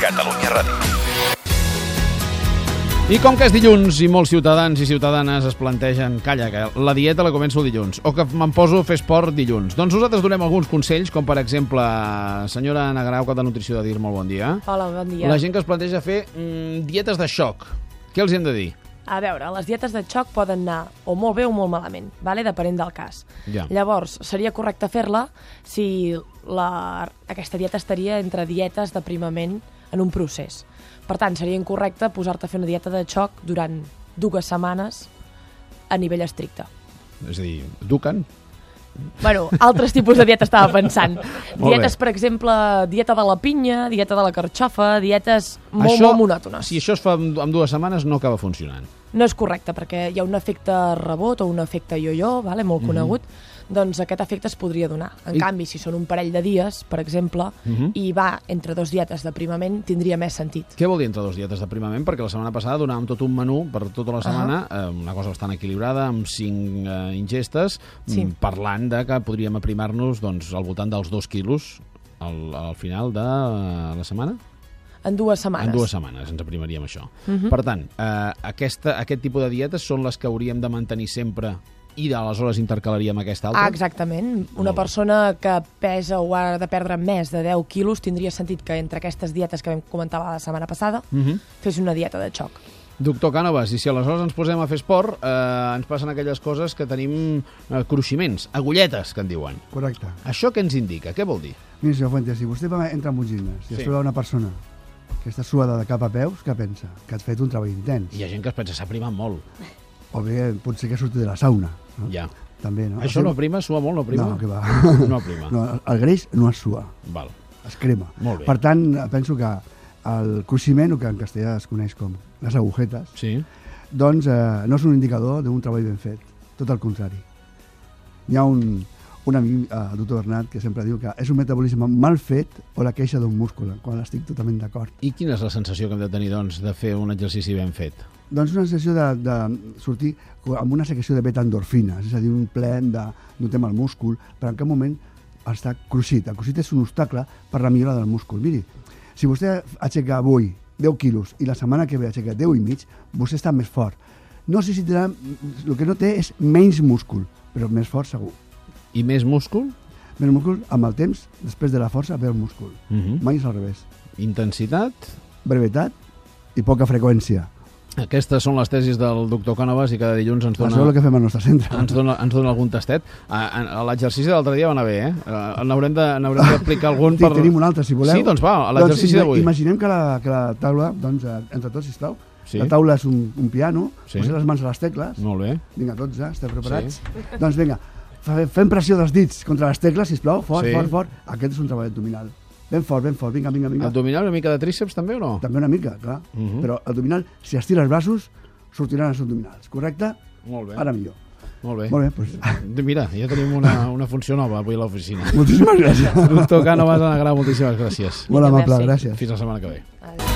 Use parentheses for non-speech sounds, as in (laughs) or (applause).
Catalunya Ràdio. I com que és dilluns i molts ciutadans i ciutadanes es plantegen calla, que la dieta la començo dilluns o que me'n poso a fer esport dilluns, doncs nosaltres donem alguns consells, com per exemple senyora Ana Grau, que de Nutrició de Dir, molt bon dia. Hola, bon dia. La gent que es planteja fer mm, dietes de xoc, què els hi hem de dir? A veure, les dietes de xoc poden anar o molt bé o molt malament, vale? depenent del cas. Ja. Llavors, seria correcte fer-la si la, aquesta dieta estaria entre dietes d'aprimament en un procés. Per tant, seria incorrecte posar-te a fer una dieta de xoc durant dues setmanes a nivell estricte. És a dir, duquen? Bueno, altres tipus de dieta estava pensant. (laughs) Molt bé. Dietes, per exemple, dieta de la pinya, dieta de la carxofa, dietes molt, molt monòtones. Si això es fa en en dues setmanes, no acaba funcionant. No és correcte, perquè hi ha un efecte rebot o un efecte yo-yo, vale, molt conegut, doncs aquest efecte es podria donar. En Mhm. I- Mhm. canvi, si són un parell de dies, per exemple, i va entre dos dietes d'aprimament, tindria més sentit. Què vol dir entre dos dietes d'aprimament? Perquè la setmana passada donàvem tot un menú per tota la setmana, eh, una cosa bastant equilibrada, amb cinc eh, ingestes, Sí. mm, parlant de que podríem aprimar-nos doncs, al voltant dels dos quilos al, al final de eh, la setmana. En dues setmanes. En dues setmanes ens aprimaríem això. Per tant, eh, aquesta, aquest tipus de dietes són les que hauríem de mantenir sempre i aleshores intercalaríem aquesta altra? Ah, exactament. Una Molt bé. persona que pesa o ha de perdre més de 10 quilos tindria sentit que entre aquestes dietes que vam comentar la setmana passada Mhm. fes una dieta de xoc. Doctor Cànovas, i si aleshores ens posem a fer esport, eh, ens passen aquelles coses que tenim eh, cruiximents, agulletes, que en diuen. Correcte. Això què ens indica? Què vol dir? Mira, senyor Fuentes, si vostè va entrar en un gimnàs Sí. i es troba una persona que està suada de cap a peus, què pensa? Que has fet un treball intens. Hi ha gent que es pensa, s'ha primat molt. O bé, potser que ha sortit de la sauna. No? Ja. També, no? Això O no sigui, prima? Sua molt, no prima? No, que va. (laughs) No prima. No, el- el greix no es sua, Val. es crema. Molt bé. Per tant, penso que el cruiximent, o que en castellà es coneix com les agujetes, Sí. doncs eh, no és un indicador d'un treball ben fet, tot el contrari. Hi ha un, un amic, eh, doctor Bernat, que sempre diu que és un metabolisme mal fet o la queixa d'un múscul, quan estic totalment d'acord. I quina és la sensació que hem de tenir, doncs, de fer un exercici ben fet? Doncs una sensació de, de sortir co- amb una secreció de beta-endorfines, és a dir, un ple de notem el múscul, però en cap moment està cruixit. El cruixit és un obstacle per la millora del múscul. Miri, si vostè aixeca avui 10 quilos i la setmana que ve aixeca 10 i mig, vostè està més fort. No sé si tindrà... El que no té és menys múscul, però més fort segur. I més múscul? Més múscul, amb el temps, després de la força, ve el múscul. Mhm. Mai és al revés. Intensitat? Brevetat i poca freqüència. Aquestes són les tesis del doctor Cànovas i cada dilluns ens Dona... Això és dona... Doncs el que fem al nostre centre. Ens dona, ens dona algun tastet. A- a- a L'exercici de l'altre dia va anar bé, eh? Eh, N'haurem de- n'haurem d'aplicar algun (laughs) Sí, per... Tenim un altre, si voleu. Sí, doncs va, a l'exercici ima- d'avui. Imaginem que la, que la taula, doncs, eh, entre tots, sisplau, Sí. sí. la taula és un, un piano, Sí. sí. posem les mans a les tecles, Molt bé. vinga, 12, esteu preparats? Sí. Sí. Doncs vinga, fa- fem pressió dels dits contra les tecles, sisplau, fort, Sí. sí. fort, fort. Aquest és un treball abdominal. Ben fort, ben fort, vinga, vinga, vinga. Abdominal, una mica de tríceps també o no? També una mica, clar. Uh Mhm. -huh. Però abdominal, si estira els braços, sortiran els abdominals, correcte? Molt bé. Ara millor. Molt bé. Molt bé, doncs... (laughs) Mira, ja tenim (laughs) una, una funció nova avui a l'oficina. Moltíssimes gràcies. Doctor Cànovas, Ana Grau, moltíssimes gràcies. Molt amable, Merci. gràcies. Fins la setmana que ve. Adéu.